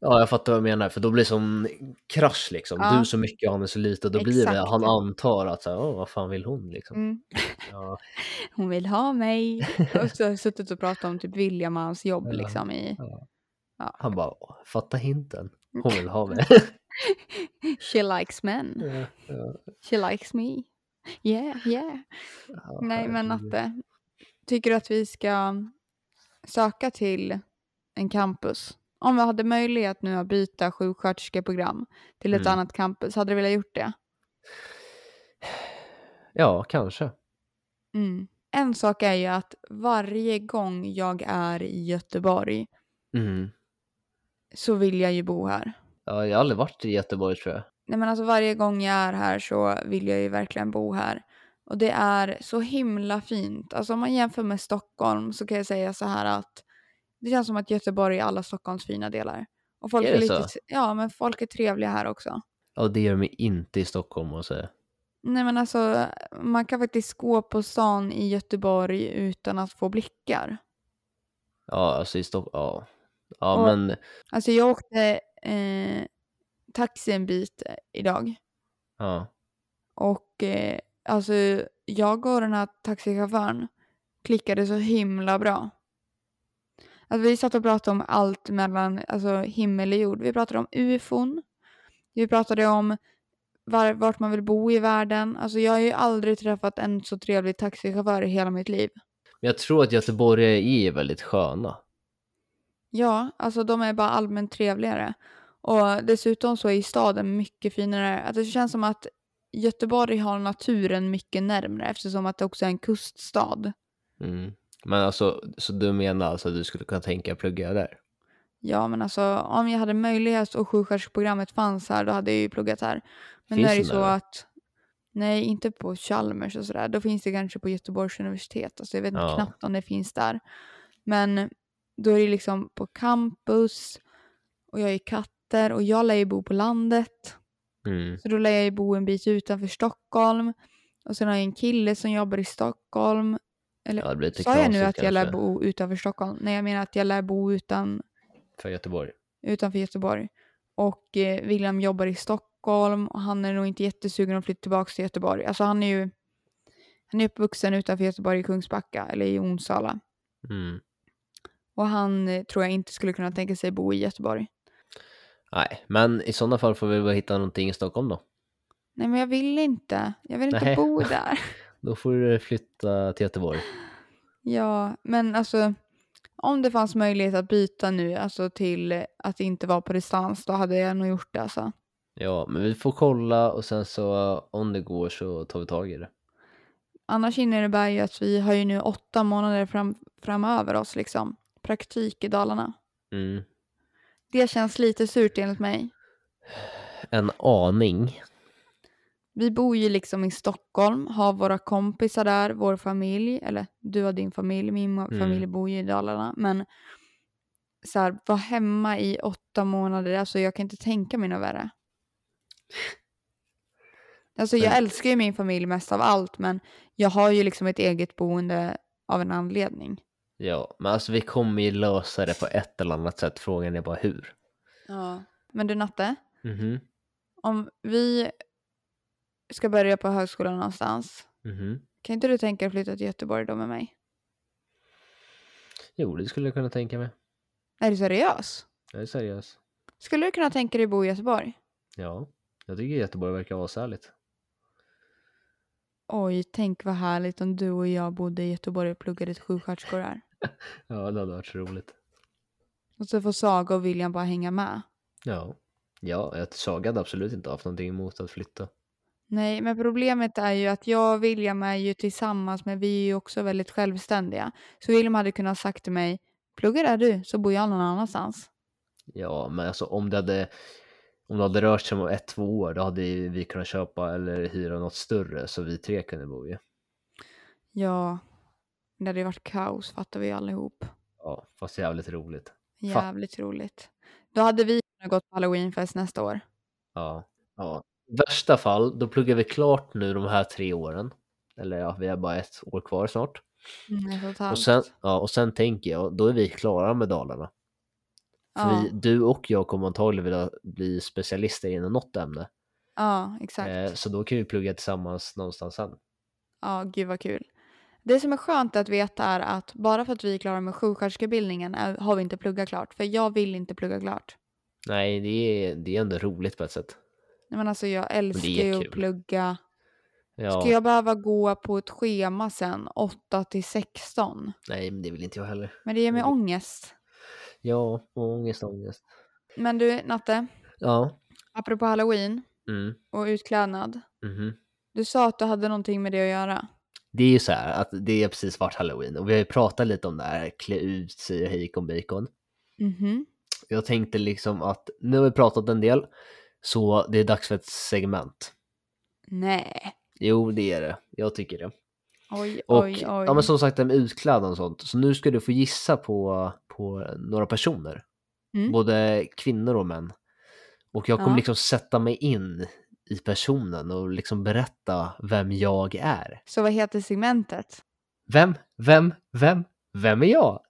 Speaker 2: ja, jag fattar vad jag menar, för då blir det som krasch liksom.
Speaker 1: Ja.
Speaker 2: Du så mycket och han är så lite och då blir det,
Speaker 1: Exakt.
Speaker 2: han antar att så här, "Åh, vad fan vill hon liksom.
Speaker 1: Mm.
Speaker 2: Ja,
Speaker 1: Hon vill ha mig. Och så har jag suttit och pratat om typ William och hans jobb
Speaker 2: Ja.
Speaker 1: liksom i...
Speaker 2: han bara, "Åh, fatta hinten. Hon vill ha mig.
Speaker 1: She likes men.
Speaker 2: Ja, ja.
Speaker 1: She likes me. Yeah, yeah.
Speaker 2: Ja,
Speaker 1: Nej, men
Speaker 2: herregud.
Speaker 1: att... eh, Tycker du att vi ska söka till en campus? Om vi hade möjlighet nu att byta sjuksköterskeprogram till ett
Speaker 2: Mm.
Speaker 1: annat campus, hade du velat gjort det?
Speaker 2: Ja, kanske.
Speaker 1: Mm. En sak är ju att varje gång jag är i Göteborg
Speaker 2: Mm.
Speaker 1: så vill jag ju bo här.
Speaker 2: Ja, jag har aldrig varit i Göteborg tror jag.
Speaker 1: Nej men alltså varje gång jag är här så vill jag ju verkligen bo här. Och det är så himla fint. Alltså om man jämför med Stockholm så kan jag säga så här att det känns som att Göteborg är alla Stockholms fina delar. Och folk
Speaker 2: Är
Speaker 1: är,
Speaker 2: det
Speaker 1: lite,
Speaker 2: så?
Speaker 1: ja men folk är trevliga här också.
Speaker 2: Ja, det gör mig inte i Stockholm och säga.
Speaker 1: Nej men alltså man kan faktiskt gå på stan i Göteborg utan att få blickar.
Speaker 2: Ja, alltså i Stockholm, ja. Ja,
Speaker 1: Och-
Speaker 2: men
Speaker 1: Alltså jag åkte eh, taxi en bit eh, idag.
Speaker 2: ja.
Speaker 1: Och eh, alltså, jag och den här taxichauffören klickade så himla bra. Alltså, vi satt och pratade om allt mellan alltså, himmel och jord. Vi pratade om ufon. Vi pratade om var, vart man vill bo i världen. Alltså, jag har ju aldrig träffat en så trevlig taxichaufför i hela mitt liv.
Speaker 2: Men jag tror att göteborgare är väldigt sköna.
Speaker 1: Ja, alltså de är bara allmänt trevligare. Och dessutom så är staden mycket finare. Alltså det känns som att Göteborg har naturen mycket närmre eftersom att det också är en kuststad.
Speaker 2: Mm. Men alltså, så du menar alltså att du skulle kunna tänka plugga där?
Speaker 1: Ja, men alltså om jag hade möjlighet och sjuksköterskeprogrammet fanns här då hade jag ju pluggat här. Men
Speaker 2: Finns
Speaker 1: nu är det
Speaker 2: den
Speaker 1: så
Speaker 2: där, va?
Speaker 1: att nej, inte på Chalmers och sådär. Då finns det kanske på Göteborgs universitet. Alltså jag vet
Speaker 2: Ja.
Speaker 1: knappt om det finns där. Men då är det liksom på campus och jag är katter och jag lär ju bo på landet.
Speaker 2: Mm.
Speaker 1: Så då lär jag ju bo en bit utanför Stockholm. Och sen har jag en kille som jobbar i Stockholm.
Speaker 2: Ja, det blir lite
Speaker 1: Sa jag nu
Speaker 2: knasigt
Speaker 1: att jag lär
Speaker 2: kanske
Speaker 1: bo utanför Stockholm? Nej, jag menar att jag lär bo utan,
Speaker 2: För Göteborg.
Speaker 1: utanför Göteborg. Och eh, William jobbar i Stockholm och han är nog inte jättesugen att flytta tillbaka till Göteborg. Alltså han är ju han är uppvuxen utanför Göteborg i Kungsbacka eller i Onsala.
Speaker 2: Mm.
Speaker 1: Och han eh, tror jag inte skulle kunna tänka sig bo i Göteborg.
Speaker 2: Nej, men i sådana fall får vi väl hitta någonting i Stockholm då.
Speaker 1: Nej men jag vill inte. Jag vill inte
Speaker 2: Nej.
Speaker 1: bo där.
Speaker 2: Då får du flytta till Göteborg.
Speaker 1: Ja, men alltså om det fanns möjlighet att byta nu alltså till att inte vara på distans då hade jag nog gjort det alltså.
Speaker 2: Ja, men vi får kolla och sen så om det går så tar vi tag i det.
Speaker 1: Annars innebär ju att vi har ju nu åtta månader fram, framöver oss liksom. Praktik i Dalarna.
Speaker 2: Mm.
Speaker 1: Det känns lite surt enligt mig.
Speaker 2: En aning.
Speaker 1: Vi bor ju liksom i Stockholm, har våra kompisar där, vår familj, eller du har din familj, min
Speaker 2: Mm.
Speaker 1: familj bor ju i Dalarna, men så här, vara hemma i åtta månader, alltså jag kan inte tänka mig något värre. Alltså jag
Speaker 2: Men-
Speaker 1: älskar ju min familj mest av allt, men jag har ju liksom ett eget boende av en anledning.
Speaker 2: Ja, men alltså vi kommer ju lösa det på ett eller annat sätt. Frågan är bara hur. Mm-hmm.
Speaker 1: Men du Natte,
Speaker 2: Mhm.
Speaker 1: om vi ska börja på högskolan någonstans.
Speaker 2: Mhm.
Speaker 1: Kan inte du tänka dig att flytta till Göteborg då med mig?
Speaker 2: Jo, det skulle jag kunna tänka mig.
Speaker 1: Är du seriös?
Speaker 2: Jag är seriös.
Speaker 1: Skulle du kunna tänka dig att bo i Göteborg?
Speaker 2: Ja, jag tycker Göteborg verkar ashärligt.
Speaker 1: Oj, tänk vad härligt om du och jag bodde i Göteborg och pluggade till sjuksköterskor här.
Speaker 2: Ja, det hade varit så roligt.
Speaker 1: Och så får Saga och William bara hänga med.
Speaker 2: Ja. Ja, jag sagade absolut inte haft någonting emot att flytta.
Speaker 1: Nej, men problemet är ju att jag och William är ju tillsammans, men vi är ju också väldigt självständiga. Så William hade kunnat sagt till mig, plugga där du, så bor jag någon annanstans.
Speaker 2: Ja, men alltså om det hade, om det hade rört sig om ett, två år, då hade ju vi kunnat köpa eller hyra något större så vi tre kunde bo i.
Speaker 1: Ja, det hade ju varit kaos, fattar vi ju allihop.
Speaker 2: Ja, fast jävligt roligt.
Speaker 1: Jävligt roligt. Då hade vi kunnat gått på halloweenfest nästa år.
Speaker 2: Ja, ja. I värsta fall, då pluggar vi klart nu de här tre åren. Eller ja, vi har bara ett år kvar snart.
Speaker 1: Mm, ett
Speaker 2: Och sen, ja, och sen tänker jag, då är vi klara med Dalarna. För
Speaker 1: ja,
Speaker 2: vi, du och jag kommer antagligen vilja bli specialister inom något ämne.
Speaker 1: ja, exakt.
Speaker 2: Eh, så då kan vi plugga tillsammans någonstans sen.
Speaker 1: Ja, gud vad kul. Det som är skönt att veta är att bara för att vi är klara med sjuksköterskebildningen är- har vi inte pluggat klart. För jag vill inte plugga klart.
Speaker 2: Nej, det är, det är ändå roligt på ett sätt.
Speaker 1: Nej, Men alltså jag älskar ju att
Speaker 2: kul.
Speaker 1: plugga.
Speaker 2: Ja,
Speaker 1: Ska jag behöva gå på ett schema sen 8 till 16?
Speaker 2: Nej, men det vill inte jag heller.
Speaker 1: Men det ger mig
Speaker 2: Mm.
Speaker 1: ångest.
Speaker 2: Ja, ångest, ångest.
Speaker 1: Men du Natte,
Speaker 2: Ja.
Speaker 1: apropå halloween
Speaker 2: Mm.
Speaker 1: och utklädnad.
Speaker 2: mhm.
Speaker 1: Du sa att du hade någonting med det att göra.
Speaker 2: Det är ju så här att det är precis vart halloween och vi har ju pratat lite om det här klä ut sig och hejkon bacon.
Speaker 1: Mhm.
Speaker 2: Jag tänkte liksom att nu har vi pratat en del så det är dags för ett segment.
Speaker 1: Nej.
Speaker 2: Jo, det är det. Jag tycker det.
Speaker 1: Oj,
Speaker 2: Och
Speaker 1: oj, oj.
Speaker 2: ja, men som sagt det här med utklädnad och sånt. Så nu ska du få gissa på, på några personer.
Speaker 1: Mm.
Speaker 2: Både kvinnor och män. Och jag kommer
Speaker 1: Ja.
Speaker 2: liksom sätta mig in i personen och liksom berätta vem jag är.
Speaker 1: Så vad heter segmentet?
Speaker 2: Vem, vem, vem, vem är jag?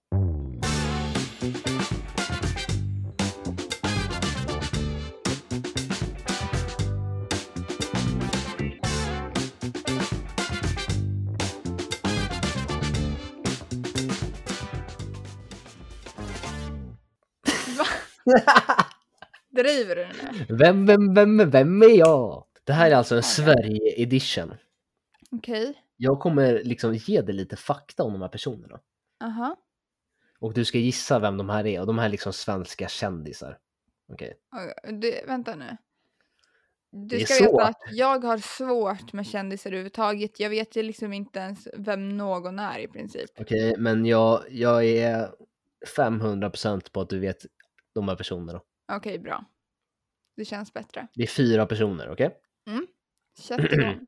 Speaker 1: Driver du nu?
Speaker 2: Vem, vem, vem, vem är jag? Det här är alltså en
Speaker 1: Okej.
Speaker 2: Sverige-edition.
Speaker 1: Okej.
Speaker 2: Jag kommer liksom ge dig lite fakta om de här personerna.
Speaker 1: Aha.
Speaker 2: Och du ska gissa vem de här är. Och de här är liksom svenska kändisar. Okej.
Speaker 1: Okej, Du, vänta nu.
Speaker 2: Det
Speaker 1: Du
Speaker 2: är
Speaker 1: ska
Speaker 2: svårt.
Speaker 1: veta att jag har svårt med kändisar överhuvudtaget. Jag vet ju liksom inte ens vem någon är i princip.
Speaker 2: Okej, men jag, jag är 500% på att du vet de här personerna.
Speaker 1: Okej, bra. Det känns bättre.
Speaker 2: Det är fyra personer, okej?
Speaker 1: Sätt igång.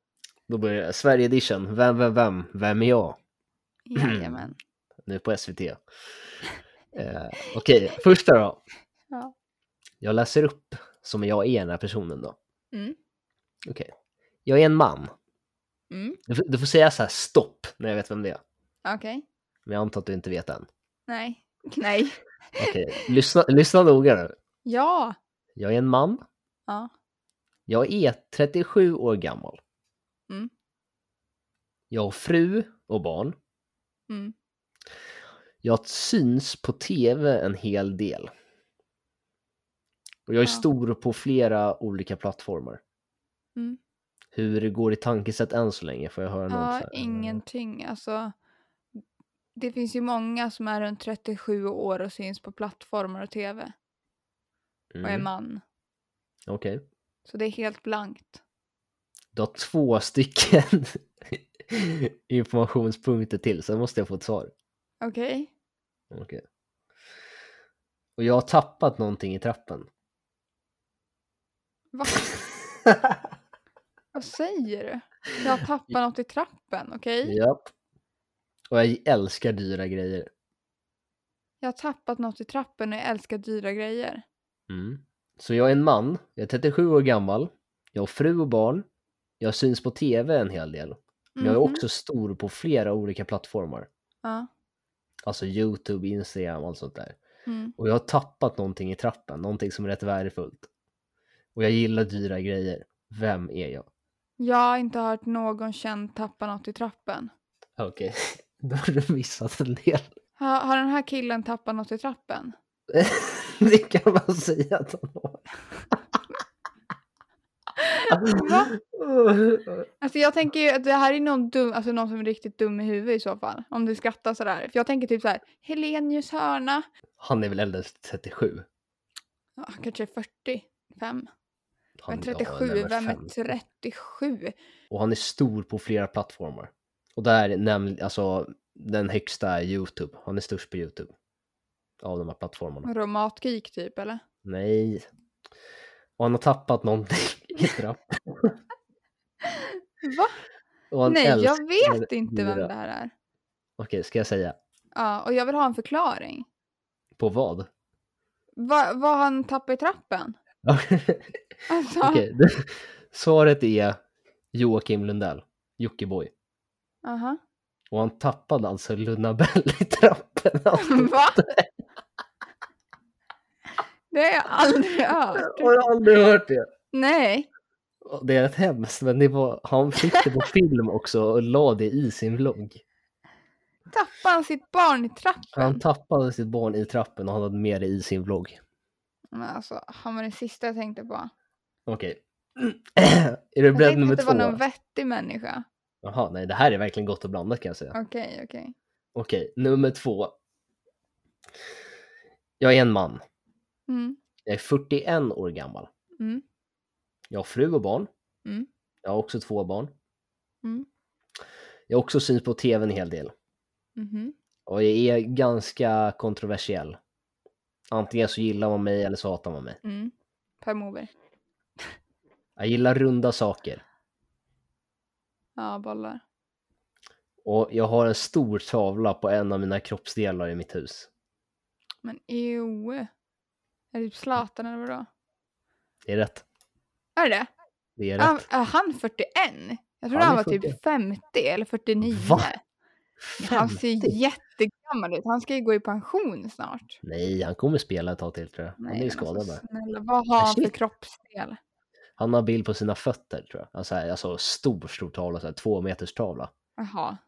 Speaker 2: Då börjar jag. Sverige edition. Vem, vem, vem? Vem är jag?
Speaker 1: Jajamän.
Speaker 2: Nu på SVT. Eh, okej, första då.
Speaker 1: Ja.
Speaker 2: Jag läser upp som jag är den här personen då.
Speaker 1: Mm.
Speaker 2: Okej. Jag är en man.
Speaker 1: Mm.
Speaker 2: Du, får- du får säga så här stopp när jag vet vem det är.
Speaker 1: Okej.
Speaker 2: Men jag antar att du inte vet än.
Speaker 1: Nej. Nej.
Speaker 2: Okej, lyssna, lyssna noga nu.
Speaker 1: Ja.
Speaker 2: Jag är en man.
Speaker 1: Ja.
Speaker 2: Jag är 37 år gammal.
Speaker 1: Mm.
Speaker 2: Jag har fru och barn.
Speaker 1: Mm.
Speaker 2: Jag syns på tv en hel del. Och jag
Speaker 1: Ja.
Speaker 2: är stor på flera olika plattformar.
Speaker 1: Mm.
Speaker 2: Hur går ditt tankesätt än så länge? Får jag höra något?
Speaker 1: Ja,
Speaker 2: så här?
Speaker 1: ingenting. Alltså, det finns ju många som är runt 37 år och syns på plattformar och tv och är
Speaker 2: Mm,
Speaker 1: man.
Speaker 2: Okej.
Speaker 1: Så det är helt blankt.
Speaker 2: Du har två stycken informationspunkter till, sen måste jag få ett svar.
Speaker 1: Okej.
Speaker 2: Okej. Och jag har tappat någonting i trappen.
Speaker 1: Va? Vad säger du? Jag tappar något i trappen, okej?
Speaker 2: Japp. Och jag älskar dyra grejer.
Speaker 1: Jag har tappat något i trappen och jag älskar dyra grejer.
Speaker 2: Mm. Så jag är en man, jag är 37 år gammal, jag har fru och barn, jag syns på tv en hel del. Men jag är
Speaker 1: Mhm.
Speaker 2: också stor på flera olika plattformar.
Speaker 1: Ja.
Speaker 2: Alltså YouTube, Instagram och allt sånt där.
Speaker 1: Mm.
Speaker 2: Och jag har tappat någonting i trappen, någonting som är rätt värdefullt. Och jag gillar dyra grejer. Vem är jag?
Speaker 1: Jag har inte hört någon känd tappa något i trappen.
Speaker 2: Okej, då har du missat en del.
Speaker 1: Ha, har den här killen tappat något i trappen?
Speaker 2: det kan man säga att han har.
Speaker 1: Va? Alltså jag tänker ju att det här är någon, dum, alltså någon som är riktigt dum i huvudet i så fall. Om du skrattar sådär. För jag tänker typ så här: Helenius hörna.
Speaker 2: Han är väl äldst 37?
Speaker 1: Ja, han kanske är 45.
Speaker 2: Han,
Speaker 1: Men
Speaker 2: ja,
Speaker 1: 37,
Speaker 2: närmare
Speaker 1: vem
Speaker 2: 50.
Speaker 1: är 37?
Speaker 2: Och han är stor på flera plattformar. Och där nämligen, alltså den högsta är YouTube. Han är störst på YouTube. Av de här
Speaker 1: Mm.
Speaker 2: plattformarna.
Speaker 1: Romatgeek typ eller?
Speaker 2: Nej. Och han har tappat någonting i trappen.
Speaker 1: Va?
Speaker 2: Och han
Speaker 1: Nej, jag
Speaker 2: älskar
Speaker 1: vet inte vem
Speaker 2: dyra.
Speaker 1: det här är.
Speaker 2: Okej, ska jag säga?
Speaker 1: Ja, och jag vill ha en förklaring.
Speaker 2: På vad?
Speaker 1: Va- Vad han tappade i trappen? Alltså,
Speaker 2: Okej, det- svaret är Joakim Lundell, Jockiboi.
Speaker 1: aha.
Speaker 2: Och han tappade alltså Lunabell i trappen. Alltså.
Speaker 1: Va? Det har jag aldrig hört.
Speaker 2: Har du aldrig hört det?
Speaker 1: Nej.
Speaker 2: Och Det är rätt hemskt, men det var, han fick det på film också och la det i sin vlogg.
Speaker 1: Tappade han sitt barn i
Speaker 2: Han
Speaker 1: trappen?
Speaker 2: tappade sitt barn i trappen och han hade med det i sin vlogg.
Speaker 1: Men alltså, han var det sista jag tänkte på.
Speaker 2: Okej. är du
Speaker 1: Jag
Speaker 2: beredd
Speaker 1: tänkte
Speaker 2: nummer
Speaker 1: att det var någon
Speaker 2: två?
Speaker 1: vettig människa.
Speaker 2: Jaha, nej, det här är verkligen gott och blandat kan jag säga.
Speaker 1: Okej, okej.
Speaker 2: Okej, nummer två. Jag är en man.
Speaker 1: Mm,
Speaker 2: Jag är 41 år gammal.
Speaker 1: mm,
Speaker 2: Jag har fru och barn.
Speaker 1: Mm.
Speaker 2: Jag har också två barn.
Speaker 1: Mm.
Speaker 2: Jag har också syns på tv en hel del.
Speaker 1: mhm.
Speaker 2: Och jag är ganska kontroversiell. Antingen så gillar man mig eller så hatar man mig.
Speaker 1: mm. Per Moberg.
Speaker 2: Jag gillar runda saker.
Speaker 1: Ja, bollar.
Speaker 2: Och jag har en stor tavla på en av mina kroppsdelar i mitt hus.
Speaker 1: Men ew. Är det typ Zlatan eller vadå?
Speaker 2: Det är rätt.
Speaker 1: Är det det?
Speaker 2: Det är
Speaker 1: Är han,
Speaker 2: rätt.
Speaker 1: är han 41? Jag trodde
Speaker 2: Han
Speaker 1: han,
Speaker 2: är
Speaker 1: var typ 50 eller 49.
Speaker 2: Va?
Speaker 1: Han ser
Speaker 2: 50?
Speaker 1: ju jättegammal ut. Han ska ju gå i pension snart.
Speaker 2: Nej, han kommer spela ett tag till tror jag. han är ju
Speaker 1: men
Speaker 2: skadad
Speaker 1: alltså,
Speaker 2: bara.
Speaker 1: snälla, vad har han för
Speaker 2: shit.
Speaker 1: kroppsdel?
Speaker 2: Han har bild på sina fötter tror jag. Alltså, här, alltså stor, stor tavla, så här, två meters tavla.
Speaker 1: Jaha.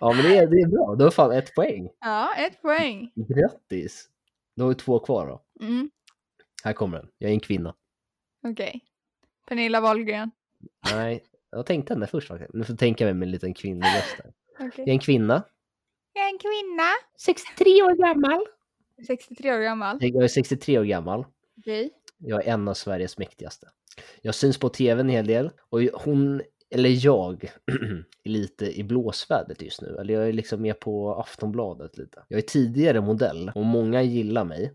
Speaker 2: Ja, men det är, det är bra. Du har fan ett poäng.
Speaker 1: Ja, ett poäng.
Speaker 2: Grattis! Du har ju två kvar då.
Speaker 1: Mm,
Speaker 2: Här kommer den. Jag är en kvinna.
Speaker 1: Okej. Pernilla Wahlgren.
Speaker 2: Nej, jag tänkte henne först faktiskt. Nu får jag tänka mig med en liten kvinnlig röst här.
Speaker 1: Okej.
Speaker 2: Jag är en kvinna.
Speaker 1: Jag är en kvinna.
Speaker 2: 63 år gammal.
Speaker 1: 63 år gammal.
Speaker 2: Jag är 63 år gammal.
Speaker 1: Okej.
Speaker 2: Jag är en av Sveriges mäktigaste. Jag syns på tv en hel del och hon, eller jag, är lite i blåsvädret just nu. Eller jag är liksom med på Aftonbladet lite. Jag är tidigare modell och många gillar mig,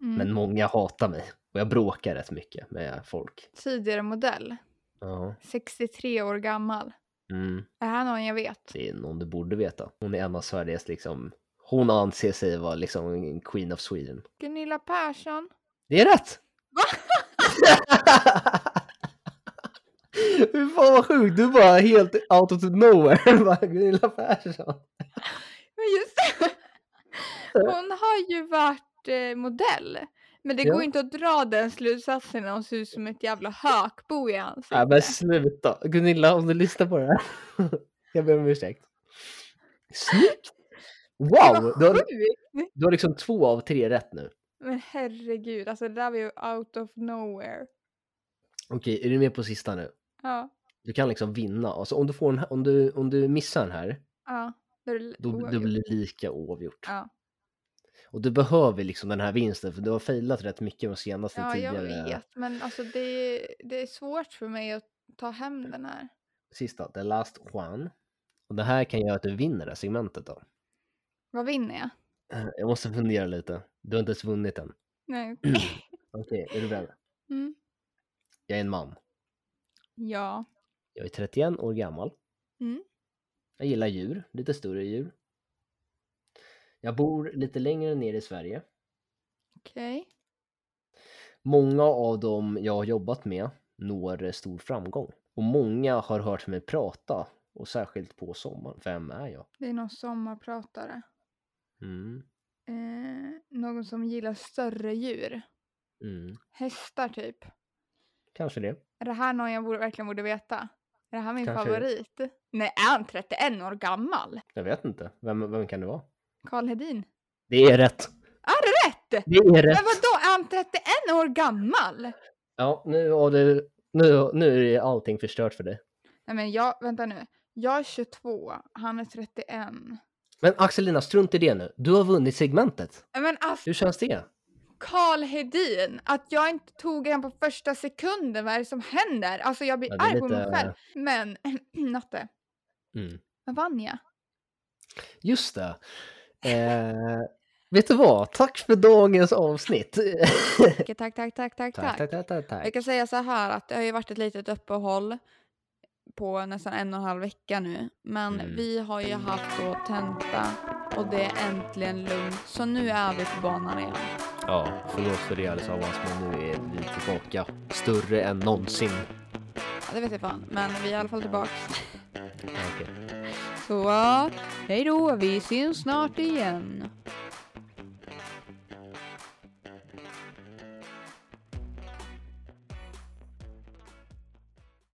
Speaker 1: Mm.
Speaker 2: men många hatar mig. Och jag bråkar rätt mycket med folk.
Speaker 1: Tidigare modell.
Speaker 2: Ja.
Speaker 1: 63 år gammal.
Speaker 2: Mm.
Speaker 1: Är här någon jag vet?
Speaker 2: Det är någon du borde veta. Hon är en av Sveriges liksom, hon anser sig vara liksom en Queen of Sweden.
Speaker 1: Gunilla Persson.
Speaker 2: Det är rätt! Hur fan vad sjukt, du bara helt out of nowhere bara Gunilla Persson.
Speaker 1: Men just det. Hon har ju varit eh, modell. Men det
Speaker 2: Ja.
Speaker 1: går inte att dra den slutsatsen när hon ser ut som ett jävla hökbo
Speaker 2: Äh,
Speaker 1: i ansiktet.
Speaker 2: Nej men sluta, Gunilla om du lyssnar på det här. Jag ber om ursäkt. Snyggt!
Speaker 1: Det
Speaker 2: Wow!
Speaker 1: var
Speaker 2: Du har,
Speaker 1: sjukt!
Speaker 2: du har liksom två av tre rätt nu.
Speaker 1: Men herregud, alltså det där var ju out of nowhere.
Speaker 2: Okej, är du med på sista nu?
Speaker 1: Ja,
Speaker 2: Du kan liksom vinna. Alltså om du, får en, om du, om du missar den här,
Speaker 1: ja. Då är det
Speaker 2: Då, då
Speaker 1: oavgjort.
Speaker 2: blir det lika oavgjort.
Speaker 1: Ja.
Speaker 2: Och du behöver liksom den här vinsten för du har failat rätt mycket de senaste
Speaker 1: ja, jag
Speaker 2: tidigare
Speaker 1: vet. Men alltså det är, det är svårt för mig att ta hem den här.
Speaker 2: sista. The last one. Och det här kan göra att du vinner det här segmentet då.
Speaker 1: Vad vinner jag?
Speaker 2: Eh, Jag måste fundera lite. Du har inte ens vunnit än.
Speaker 1: Nej.
Speaker 2: Okej, är du beredd?
Speaker 1: Mm.
Speaker 2: Jag är en man.
Speaker 1: Ja.
Speaker 2: Jag är 31 år gammal.
Speaker 1: Mm.
Speaker 2: Jag gillar djur, lite större djur. Jag bor lite längre ner i Sverige.
Speaker 1: Okej.
Speaker 2: Många av dem jag har jobbat med når eh, stor framgång. Och många har hört mig prata, och särskilt på sommaren. Vem är jag?
Speaker 1: Det är någon sommarpratare.
Speaker 2: Mm.
Speaker 1: Eh, någon som gillar större djur.
Speaker 2: Mm.
Speaker 1: Hästar typ.
Speaker 2: Kanske det.
Speaker 1: Är det här någon jag borde, verkligen borde veta? Är det här min
Speaker 2: Kanske-
Speaker 1: favorit? Nej, är han 31 år gammal?
Speaker 2: Jag vet inte. Vem, vem kan det vara?
Speaker 1: Karl Hedin.
Speaker 2: Det är rätt.
Speaker 1: Är det rätt?
Speaker 2: Det är
Speaker 1: Men
Speaker 2: rätt.
Speaker 1: vadå, är han 31 år gammal?
Speaker 2: Ja, nu, har du, nu, nu är allting förstört för dig.
Speaker 1: Nej men jag, vänta nu. Jag är 22, han är 31.
Speaker 2: Men Axelina, strunt i det nu. Du har vunnit segmentet.
Speaker 1: Nej, Men alltså,
Speaker 2: Hur känns det?
Speaker 1: Karl Hedin, att jag inte tog den på första sekunden, vad är det som händer? Alltså jag blir
Speaker 2: Ja, det är
Speaker 1: arg på mig
Speaker 2: lite-
Speaker 1: själv. Men, Natte,
Speaker 2: Mm.
Speaker 1: vad vann jag?
Speaker 2: Just det. Eh, vet du vad? Tack för dagens avsnitt.
Speaker 1: Okej, tack, tack, tack, tack,
Speaker 2: tack,
Speaker 1: tack.
Speaker 2: tack, tack, tack,
Speaker 1: Jag
Speaker 2: tack.
Speaker 1: kan säga så här att det har ju varit ett litet uppehåll på nästan en och en halv vecka nu. Men
Speaker 2: Mm.
Speaker 1: vi har ju haft då tenta och det är äntligen lugnt. Så nu är vi på banan igen.
Speaker 2: Ja, förlåt för det allesammans, men nu är vi tillbaka. Större än någonsin.
Speaker 1: Ja, det vet jag fan, men vi är i alla fall tillbaka.
Speaker 2: Okej.
Speaker 1: Så hej då, vi syns snart igen.